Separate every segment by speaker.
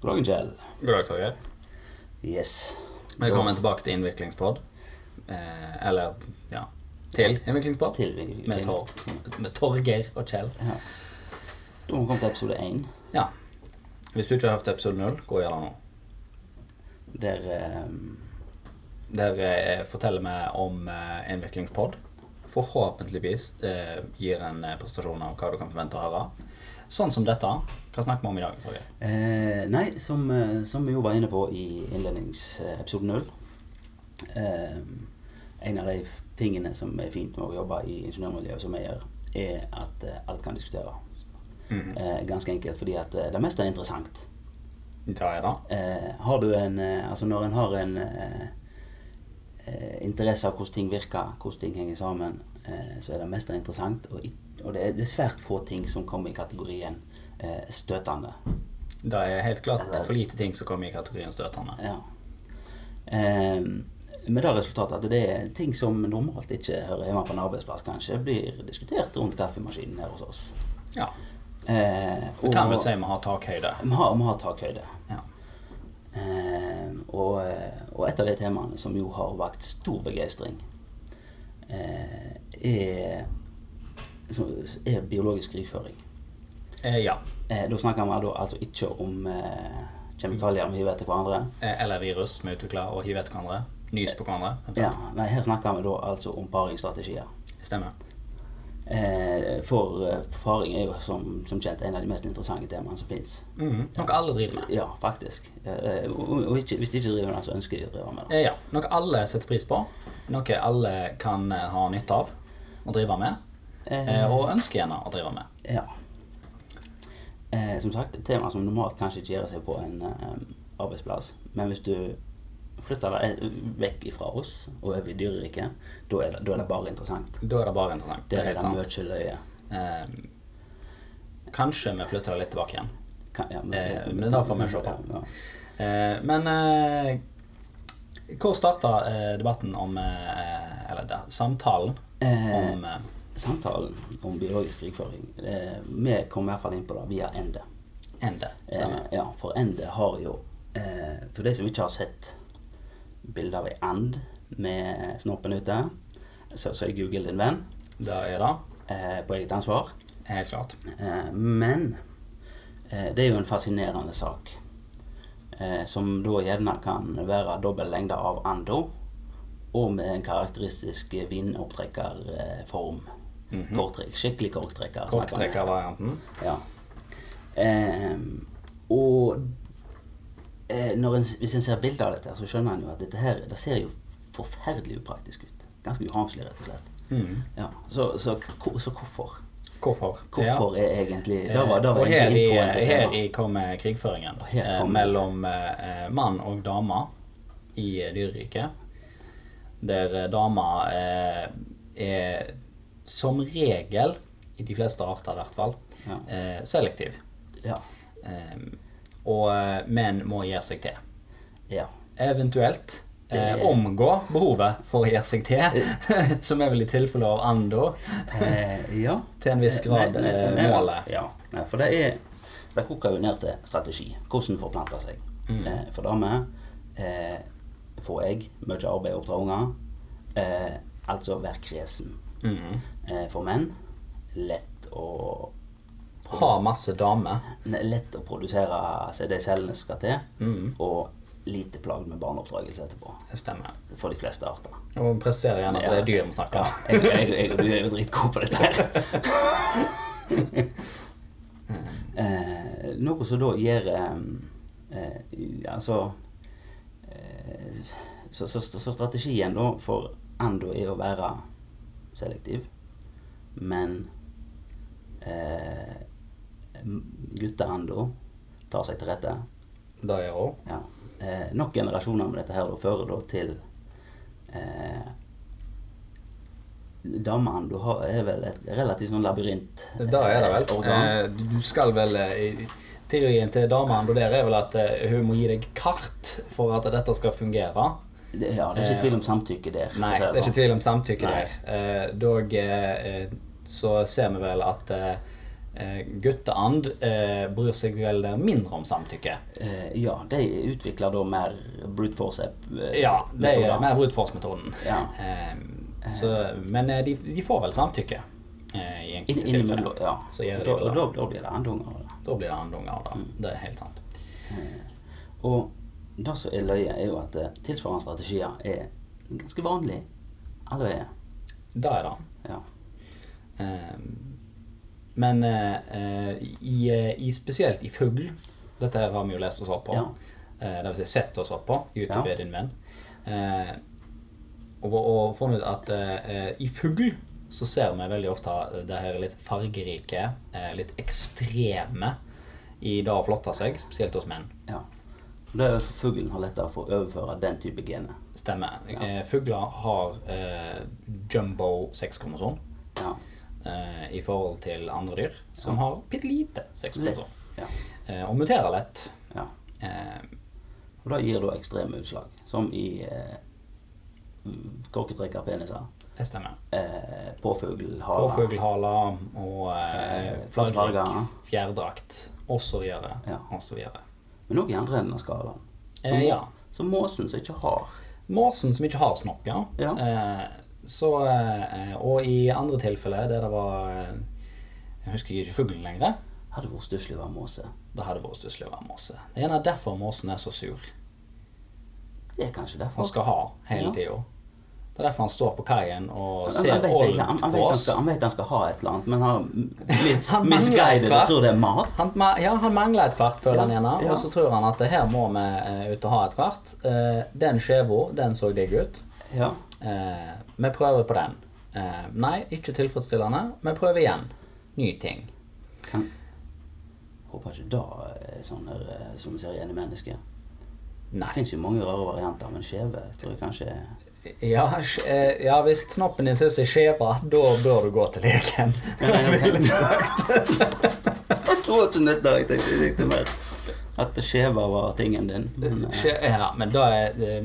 Speaker 1: God dag, Kjell.
Speaker 2: God dag, Torgeir.
Speaker 1: Yes.
Speaker 2: Velkommen tilbake til Innviklingspod. Eh, eller ja til Innviklingspod.
Speaker 1: Til Innviklingspod.
Speaker 2: Med, tor med Torgeir og Kjell.
Speaker 1: Da må vi komme til episode én,
Speaker 2: Ja. Hvis du ikke har hørt episode null, gå og gjør det nå.
Speaker 1: der eh,
Speaker 2: Der eh, forteller vi om eh, Innviklingspod. Forhåpentligvis eh, gir en eh, prestasjon av hva du kan forvente å høre. Sånn som dette. Hva snakker vi om i dag? Torgeir?
Speaker 1: eh, Nei, som, eh, som vi jo var inne på i innledningsepisode null eh, En av de f- tingene som er fint med å jobbe i ingeniørmiljøet som jeg gjør, er at eh, alt kan diskutere.
Speaker 2: Mhm.
Speaker 1: Eh, ganske enkelt fordi at eh, det meste er interessant.
Speaker 2: Det er det.
Speaker 1: Eh, har du en eh, Altså når en har en eh, eh, interesse av hvordan ting virker, hvordan ting henger sammen, eh, så er det mest interessant. Og, i- og det, er, det er svært få ting som kommer i kategorien eh, støtende.
Speaker 2: Det er helt klart for lite ting som kommer i kategorien støtende.
Speaker 1: Ja. Eh, med det resultatet at det er ting som normalt ikke hører hjemme på en arbeidsplass, kanskje, blir diskutert rundt kaffemaskinen her hos oss.
Speaker 2: Ja.
Speaker 1: Eh,
Speaker 2: Vi kan vel
Speaker 1: og-
Speaker 2: si vi har takhøyde.
Speaker 1: Vi har, vi har takhøyde.
Speaker 2: Ja.
Speaker 1: Eh, og, og et av de temaene som jo har vakt stor begeistring, eh, er, som, er biologisk krigføring.
Speaker 2: Eh, ja.
Speaker 1: Eh, da snakker vi da altså ikke om eh, kjemikalier vi hiver etter hverandre.
Speaker 2: Eh, Eller virus som er utvikla og hiver etter hverandre. Nys på hverandre.
Speaker 1: Ja, nei, her snakker vi da altså om paringsstrategier.
Speaker 2: Stemmer.
Speaker 1: Eh, for eh, paring er jo som, som kjent en av de mest interessante temaene som fins.
Speaker 2: Mhm. Noe alle driver med.
Speaker 1: Ja, faktisk. Eh, og og ikke, hvis de ikke driver med det, så ønsker de å drive med det.
Speaker 2: Eh, ja. Noe alle setter pris på. Noe alle kan eh, ha nytte av å drive med. Eh, og ønsker gjerne å drive med.
Speaker 1: Ja. Eh, som sagt, et tema som normalt kanskje ikke gjør seg på en eh, arbeidsplass. Men hvis du flytter deg eh, vekk ifra oss og over i dyreriket, da er, det- da er det bare interessant.
Speaker 2: Da er det bare interessant. Det
Speaker 1: Der
Speaker 2: er
Speaker 1: er
Speaker 2: helt
Speaker 1: det
Speaker 2: sant.
Speaker 1: mye løye.
Speaker 2: Eh, kanskje vi flytter det litt tilbake igjen.
Speaker 1: Kan- ja,
Speaker 2: Eh, men da får vi se på.
Speaker 1: Ja, ja.
Speaker 2: Eh, men eh, hvor starta eh, debatten om eh, Eller da, samtalen
Speaker 1: Eh.
Speaker 2: om eh,
Speaker 1: Samtalen om biologisk krigføring eh, Vi kom i hvert fall inn på det via Ende.
Speaker 2: Ende?
Speaker 1: Eh,
Speaker 2: E? Stemmer.
Speaker 1: ja, for Ende har jo eh, For de som ikke har sett bilder av ei and med snoppen ute, så, så er Google din venn
Speaker 2: Det er det.
Speaker 1: eh, på eget ansvar.
Speaker 2: Helt klart.
Speaker 1: Eh, Men eh, det er jo en fascinerende sak. eh, Som da gjerne kan være dobbel lengde av ando, og med en karakteristisk vindopptrekkerform. Korttrekk. Skikkelig korktrekker. snakker vi.
Speaker 2: Korktrekkervarianten.
Speaker 1: Ja. Eh, og eh, når en, hvis en ser bilder av dette, så skjønner en jo at dette her, det ser jo forferdelig upraktisk ut. Ganske uhamslig, rett og slett.
Speaker 2: Mm.
Speaker 1: Ja, så, så, så hvorfor?
Speaker 2: Hvorfor?
Speaker 1: Hvorfor er egentlig
Speaker 2: Ja.
Speaker 1: Det var, det var
Speaker 2: og her,
Speaker 1: egentlig
Speaker 2: i,
Speaker 1: introen til
Speaker 2: her
Speaker 1: temaet.
Speaker 2: i kom eh, krigføringen
Speaker 1: her
Speaker 2: eh,
Speaker 1: kom-
Speaker 2: mellom eh, mann og dame i eh, dyreriket. Der eh, dama eh, er som regel, i de fleste arter i hvert fall,
Speaker 1: Ja.
Speaker 2: eh, selektiv.
Speaker 1: Ja.
Speaker 2: Eh, og eh, menn må gjøre seg til.
Speaker 1: ja.
Speaker 2: Eventuelt eh, omgå behovet for å gjøre seg til, som er vel i tilfelle av ando,
Speaker 1: Eh, ja.
Speaker 2: til en viss grad
Speaker 1: Nei, nei,
Speaker 2: eh,
Speaker 1: nei,
Speaker 2: målet.
Speaker 1: Ja, nei, for det er Det koker jo ned til strategi. Hvordan forplante seg.
Speaker 2: Mm.
Speaker 1: Eh, for damer eh, får jeg mye arbeid og oppdra unger. Eh, altså være kresen.
Speaker 2: Mm.
Speaker 1: Eh, for menn lett å
Speaker 2: Ha masse damer.
Speaker 1: ne- Lett å produsere altså, de cellene som skal til,
Speaker 2: Mm.
Speaker 1: og lite plagd med barneoppdragelse etterpå.
Speaker 2: Det stemmer.
Speaker 1: For de fleste arter.
Speaker 2: Og vi presiserer gjerne at det er dyr vi snakker om.
Speaker 1: Jeg, jeg, jeg og du er jo dritgode på dette her. eh, noe som da gjør eh, eh, Altså eh, så, så, så strategien da for Ando er å være selektiv, men eh, gutta-Ando tar seg til rette.
Speaker 2: Det gjør hun.
Speaker 1: Ja. Eh, nok generasjoner med dette her da, fører da til eh, Damene du har, er vel et relativt sånn labyrint
Speaker 2: Det er det vel.
Speaker 1: eh, organ.
Speaker 2: Eh, Du skal vel eh, i- Teorien til damene og der er vel at eh, hun må gi deg kart for at dette skal fungere.
Speaker 1: Det, ja, det er ikke tvil om samtykke der. for å
Speaker 2: eh, Nei,
Speaker 1: si
Speaker 2: det er ikke
Speaker 1: sånn.
Speaker 2: tvil om samtykke
Speaker 1: Nei.
Speaker 2: der. Eh, Dog eh, eh, så ser vi vel at eh, eh, gutteand eh, bryr seg vel mindre om samtykke.
Speaker 1: Eh, ja, de utvikler da mer brute force-app-metoder.
Speaker 2: Ja, det er mer brutforce-metoden.
Speaker 1: Ja.
Speaker 2: Eh, så- men eh, de, de får vel samtykke eh, i enkelte tilfeller.
Speaker 1: Innimellom, ja.
Speaker 2: Så gjør de
Speaker 1: Og da, og
Speaker 2: vel det.
Speaker 1: da, da blir det andunger. av det.
Speaker 2: Da blir det handlunger, da.
Speaker 1: Mm.
Speaker 2: Det er helt sant.
Speaker 1: Og det som er løye, er jo at eh, tilsvarende strategier er ganske vanlig allerede.
Speaker 2: Da er det.
Speaker 1: Ja.
Speaker 2: Eh, men eh, eh, i, eh, i, spesielt i fugl Dette her har vi jo lest oss opp på.
Speaker 1: Ja.
Speaker 2: Eh, det vil si sett oss opp på. YouTube
Speaker 1: Ja.
Speaker 2: er din venn. Eh, og, og funnet ut at eh, eh, i fugl så ser vi veldig ofte det her litt fargerike, eh, litt ekstreme i det å flotte seg, spesielt hos menn.
Speaker 1: ja. Og Det er jo for fuglen har lettere for å overføre den type gener.
Speaker 2: Stemmer. Eh, fugler har eh, jumbo sexkromosom
Speaker 1: Ja.
Speaker 2: eh, i forhold til andre dyr som har bitte lite sexkromosom.
Speaker 1: Ja.
Speaker 2: Eh, og muterer lett.
Speaker 1: ja.
Speaker 2: Eh,
Speaker 1: Og det gir da ekstreme utslag, som i eh, korketrekkerpeniser,
Speaker 2: det stemmer.
Speaker 1: eh, påfuglhaler
Speaker 2: Påfuglhaler og eh,
Speaker 1: Eh, flate farger.
Speaker 2: flagg, fjærdrakt osv.
Speaker 1: Ja.
Speaker 2: osv.
Speaker 1: Men òg i andre enden av skalaen.
Speaker 2: Eh, ja.
Speaker 1: Som måsen som ikke har
Speaker 2: Måsen som ikke har snopp, ja.
Speaker 1: Ja.
Speaker 2: Eh, så, eh, og i andre tilfeller der det var eh, Jeg husker ikke fuglen lenger.
Speaker 1: Hadde vært stusslig å være måse.
Speaker 2: Det hadde vært stusslig å være måse. Det er gjerne derfor måsen er så sur.
Speaker 1: Det er kanskje
Speaker 2: Han
Speaker 1: derfor.
Speaker 2: skal ha hele
Speaker 1: Ja.
Speaker 2: tida. Det er derfor han står på kaien og
Speaker 1: Han,
Speaker 2: ser
Speaker 1: han, vet, egentlig- han,
Speaker 2: olmt
Speaker 1: han,
Speaker 2: på
Speaker 1: vet han,
Speaker 2: oss.
Speaker 1: skal, han vet han skal ha et eller annet, men har
Speaker 2: Han mangler et
Speaker 1: misguidet
Speaker 2: kvart.
Speaker 1: og tror det er mat.
Speaker 2: Han, ma- ja, han mangler et kvart, føler han gjerne.
Speaker 1: Ja.
Speaker 2: Og så tror han at her må vi eh, ut og ha et kvart. Eh, den skjeva, den så digg ut.
Speaker 1: Ja.
Speaker 2: Eh, vi prøver på den. Eh, nei, ikke tilfredsstillende. Vi prøver igjen. Ny ting.
Speaker 1: Kan, håper ikke da er sånn her, eh, som vi ser igjen i mennesker. Det
Speaker 2: Nei.
Speaker 1: fins jo mange rare varianter, men skjeve tror jeg kanskje er-
Speaker 2: Ja, sk- eh, ja hvis snoppen din ser ut som skjeva, da bør du gå til legen.
Speaker 1: Jeg tror ikke det der, jeg tenkte, jeg tenkte mer at det skjeve var tingen din. Men, eh,
Speaker 2: Skje- Ja, men da er eh,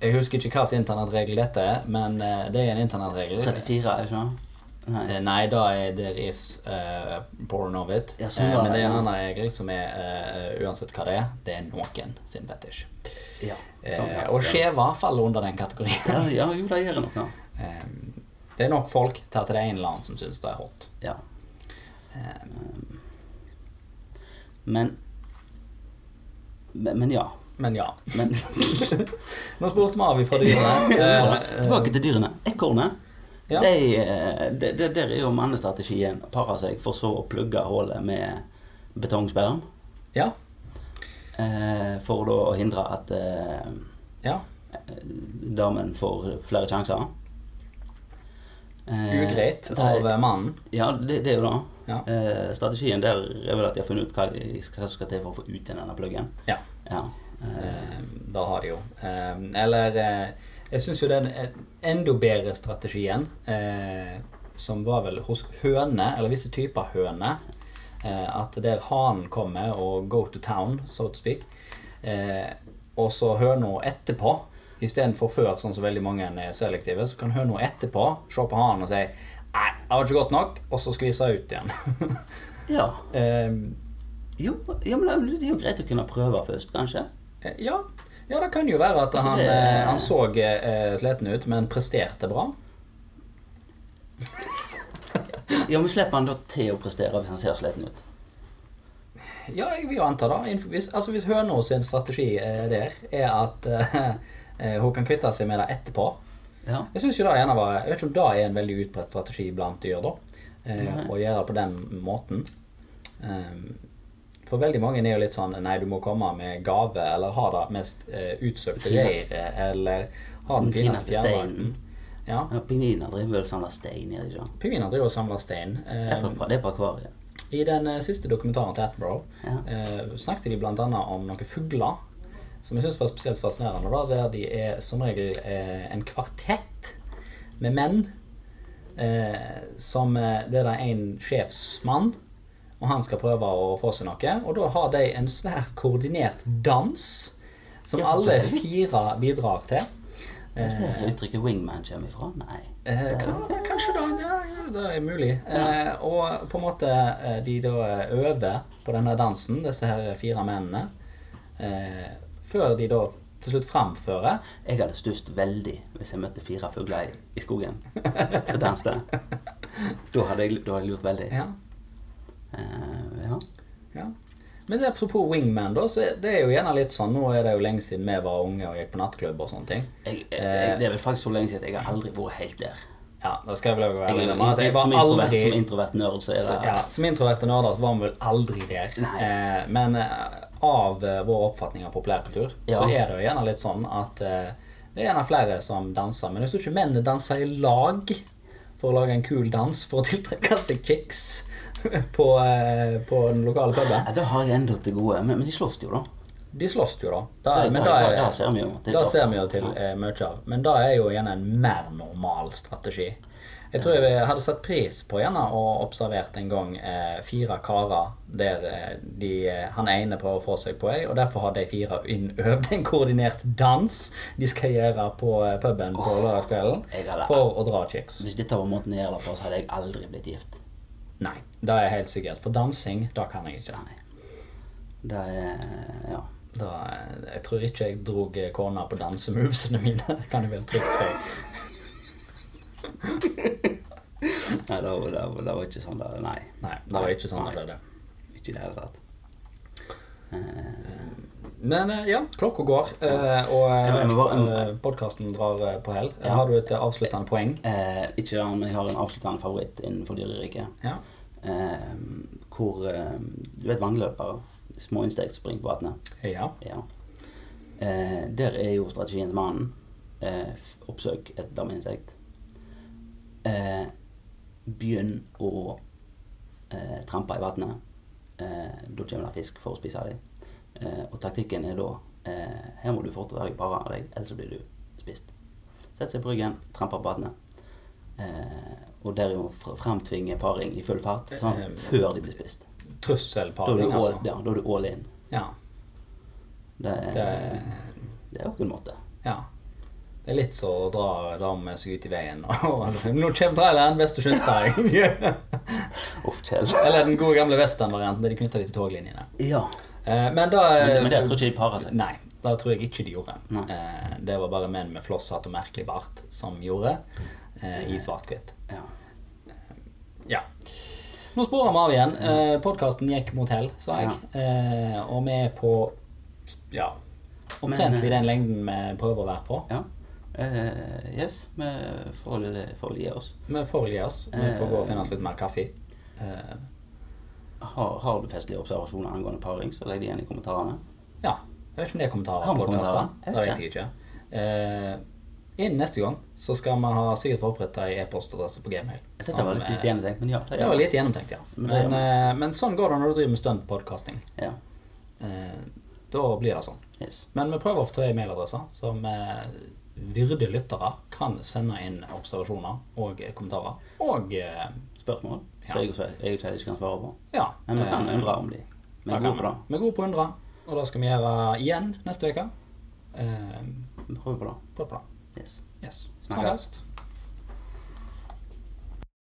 Speaker 2: Jeg husker ikke hvilken internettregel dette er, men eh, det er en
Speaker 1: 34,
Speaker 2: internettregel.
Speaker 1: er det ikke sant? Nei.
Speaker 2: Eh, Nei, da er there is eh, porn of it.
Speaker 1: Ja, sånn
Speaker 2: Eh,
Speaker 1: var
Speaker 2: men det
Speaker 1: det,
Speaker 2: er en
Speaker 1: ja.
Speaker 2: annen regel som er eh, uansett hva det er, det er noen sin fetisj.
Speaker 1: Ja,
Speaker 2: Eh,
Speaker 1: sånn, ja.
Speaker 2: og skjeva faller under den kategorien.
Speaker 1: Ja, ja, jo, det gjør jeg nok, ja.
Speaker 2: Eh, det er nok folk til at det er en eller annen som syns det er hot.
Speaker 1: ja. Ehm, Men Men, men ja.
Speaker 2: Men ja.
Speaker 1: Men
Speaker 2: Nå spurte vi av ifra dyrene. Eh,
Speaker 1: tilbake til dyrene. Ekornet.
Speaker 2: Ja.
Speaker 1: De, eh, de, de, der er jo mannestrategien å pare seg, for så å plugge hullet med betongsperm.
Speaker 2: ja.
Speaker 1: Eh, for da å hindre at eh,
Speaker 2: ja.
Speaker 1: damen får flere sjanser. Eh,
Speaker 2: Ugreit
Speaker 1: det-
Speaker 2: av eh, mannen.
Speaker 1: Ja, det, det er jo det.
Speaker 2: Ja.
Speaker 1: Eh, strategien der er vel at de har funnet ut hva, de, hva som skal til for å få ut den denne pluggen.
Speaker 2: Ja.
Speaker 1: Ja. Eh,
Speaker 2: Eh, Da har de jo. Eh, Eller eh, Jeg syns jo den eh, enda bedre strategien, eh, som var vel hos høne, eller visse typer høne, eh, at der hanen kommer og go to town, so to speak, eh, og så høna etterpå Istedenfor før, sånn som veldig mange er selektive, så kan høna etterpå se på hanen og si Nei, det var ikke godt nok, og så skvise ut igjen.
Speaker 1: ja.
Speaker 2: eh,
Speaker 1: Jo, ja, men det er jo greit å kunne prøve først, kanskje.
Speaker 2: Eh, Ja. ja, det kan jo være at han,
Speaker 1: Altså, det-
Speaker 2: eh, han så eh, sliten ut, men presterte bra.
Speaker 1: Ja, men slipper han da til å prestere hvis han ser sliten ut?
Speaker 2: Ja, jeg vil jo anta det. Innenfor- Hvis, altså, hvis Høno sin strategi eh, der er at eh, eh, hun kan kvitte seg med det etterpå
Speaker 1: Ja.
Speaker 2: Jeg synes jo det gjerne var, jeg vet ikke om det er en veldig utbredt strategi blant dyr, da. Eh, å gjøre det på den måten. Ehm, for veldig mange er jo litt sånn Nei, du må komme med gave, eller ha det mest eh, utsøkte
Speaker 1: Fine.
Speaker 2: reiret, eller ha den
Speaker 1: Den fineste
Speaker 2: fineste jernvakten.
Speaker 1: steinen.
Speaker 2: Ja.
Speaker 1: ja Pingviner driver vel og samler stein, gjør de ikke?
Speaker 2: Pingviner driver og samler stein.
Speaker 1: Det er
Speaker 2: Eh,
Speaker 1: fra- Det er på akvariet.
Speaker 2: I den eh, siste dokumentaren til Attenborough
Speaker 1: Ja.
Speaker 2: eh, snakket de bl.a. om noen fugler som jeg syns var spesielt fascinerende. Da, der de er som regel eh, en kvartett med menn. Eh, som eh, Det er da en sjefsmann, og han skal prøve å få seg noe. Og da har de en svært koordinert dans som alle fire bidrar til.
Speaker 1: Er det
Speaker 2: Eh,
Speaker 1: der uttrykket 'wingman' kommer ifra? Nei.
Speaker 2: Eh, kan, kanskje da, ja, ja, det er mulig. Eh, og på en måte eh, de da eh, øver på denne dansen, disse her fire mennene, eh, før de da til slutt framfører.
Speaker 1: Jeg hadde stusset veldig hvis jeg møtte fire fugler i, i skogen som danste. Da hadde jeg, da hadde jeg lurt veldig.
Speaker 2: Ja,
Speaker 1: Eh, ja.
Speaker 2: ja. Men det, apropos wingman, da, så er- det er jo gjerne litt sånn Nå er det jo lenge siden vi var unge og gikk på nattklubb og sånne ting.
Speaker 1: Jeg,
Speaker 2: Eh.
Speaker 1: jeg, det er vel faktisk så lenge siden at jeg har aldri vært helt der.
Speaker 2: Ja, da skal jeg vel også være
Speaker 1: Jeg,
Speaker 2: ærlig
Speaker 1: er-
Speaker 2: om at jeg
Speaker 1: som,
Speaker 2: var
Speaker 1: introvert,
Speaker 2: aldri
Speaker 1: som introvert nerd så er det
Speaker 2: Altså, Ja, som introverte nerder så var vi vel aldri der.
Speaker 1: Nei.
Speaker 2: Eh, men eh, av eh, vår oppfatning av populærkultur
Speaker 1: Ja.
Speaker 2: så er det jo gjerne litt sånn at eh, det er gjerne flere som danser, men jeg tror ikke mennene danser i lag for å lage en kul dans for å tiltrekke seg chicks på, eh, på den lokale puben.
Speaker 1: Nei, Det har jeg enda til gode, men, men de slåss jo, da.
Speaker 2: De slåss jo, da. da
Speaker 1: Det-
Speaker 2: men
Speaker 1: det-
Speaker 2: da, er,
Speaker 1: det- det ser vi jo. Det-
Speaker 2: da
Speaker 1: det-
Speaker 2: ser vi jo til eh, mye av. Men det er jo gjerne en mer normal strategi. Jeg tror jeg hadde satt pris på gjerne og observert en gang eh, fire karer der eh, de, eh, han ene prøver å få seg på ei, og derfor har de fire innøvd en koordinert dans de skal gjøre på eh, puben på
Speaker 1: jeg
Speaker 2: lørdagskvelden
Speaker 1: hadde-
Speaker 2: for å dra chicks.
Speaker 1: Hvis dette var måten jeg gjør det på, så hadde jeg aldri blitt gift.
Speaker 2: Nei, det er helt sikkert. For dansing, det kan jeg ikke.
Speaker 1: Det er Ja.
Speaker 2: Da, eh, jeg tror ikke jeg drog eh, kona på dansemovesene mine, kan jeg vel trygt si.
Speaker 1: Nei, det var, det var, det var ikke sånn det Nei.
Speaker 2: Nei, det var ikke sånn det ble det.
Speaker 1: Ikke i det hele tatt.
Speaker 2: Men eh, ja, klokka går, eh, og
Speaker 1: Ja, men bare-
Speaker 2: eh, podkasten drar eh, på hell. Har du et eh, avsluttende poeng?
Speaker 1: Eh, ikke det, men jeg har en avsluttende favoritt innenfor dyreriket.
Speaker 2: Ja.
Speaker 1: Eh, hvor eh, Du vet vannløpere? Små insekter som springer på vannet?
Speaker 2: ja.
Speaker 1: Ja. Eh, der er jo strategien til mannen eh, f- oppsøk et dameinsekt. Eh, begynn å eh, trampe i vannet. Eh, da kommer det fisk for å spise dem. Eh, og taktikken er da eh, her må du forte deg bare av deg, ellers så blir du spist. Sett seg på ryggen, trampe på vannet. Eh, og derimot fr- framtvinge paring i full fart, sånn
Speaker 2: Eh,
Speaker 1: før de blir spist. Da er
Speaker 2: Trusselparing,
Speaker 1: du all,
Speaker 2: altså.
Speaker 1: ja, da er du all in.
Speaker 2: Ja.
Speaker 1: Det er,
Speaker 2: Det,
Speaker 1: det er jo ikke en måte.
Speaker 2: ja. Det er litt så å dra dra med seg ut i veien. og Nå kommer traileren, best å skynde deg!
Speaker 1: Uff, Kjell.
Speaker 2: Eller den gode gamle western-varianten der de knytter de til toglinjene.
Speaker 1: Ja.
Speaker 2: Eh, Men da
Speaker 1: Men, men det tror jeg ikke de parer seg.
Speaker 2: Nei, det tror jeg ikke de gjorde.
Speaker 1: Nei.
Speaker 2: Eh, Det var bare menn med flosshatt og merkelig bart som gjorde, eh, i svart-hvitt.
Speaker 1: Ja.
Speaker 2: Ja. Nå sporer vi av igjen. Eh, Podkasten gikk mot hell, sa jeg. Eh, og vi er på ja, omtrent
Speaker 1: Men, eh,
Speaker 2: i den lengden vi prøver å være på.
Speaker 1: ja. Eh, yes, vi får, får gi oss.
Speaker 2: Vi får gi oss. Vi får gå og finne oss litt mer kaffe. Eh,
Speaker 1: Har, har du festlige observasjoner angående paring, så legg det igjen i kommentarene.
Speaker 2: ja. Jeg vet ikke om det er kommentarer
Speaker 1: Har vi
Speaker 2: på
Speaker 1: kommentarer?
Speaker 2: podkasten.
Speaker 1: Jeg
Speaker 2: Det
Speaker 1: vet
Speaker 2: vet jeg ikke. Eh, innen neste gang så skal vi ha sikkert forberedt ei e-postadresse på Gmail. eh,
Speaker 1: Dette var litt, litt enetenkt, men ja. Det,
Speaker 2: det var lite gjennomtenkt, ja.
Speaker 1: Men det-
Speaker 2: Men, eh, men sånn går det når du driver med stuntpodkasting.
Speaker 1: Ja.
Speaker 2: Eh, da blir det sånn.
Speaker 1: Yes.
Speaker 2: Men vi prøver å få tre mailadresser som eh, vyrdige lyttere kan sende inn observasjoner og kommentarer. Og eh,
Speaker 1: Spørsmål
Speaker 2: Ja.
Speaker 1: som jeg og Kjell- jeg og Kjell ikke kan svare på.
Speaker 2: ja.
Speaker 1: Men vi kan
Speaker 2: eh,
Speaker 1: undre om de. Vi
Speaker 2: da
Speaker 1: er
Speaker 2: kan
Speaker 1: gode på det.
Speaker 2: Vi Vi er gode på å undre, og det skal vi gjøre igjen neste uke. Eh,
Speaker 1: Vi prøver på det.
Speaker 2: prøv på det.
Speaker 1: Yes.
Speaker 2: Yes.
Speaker 1: Snakkes.
Speaker 2: Snakkes.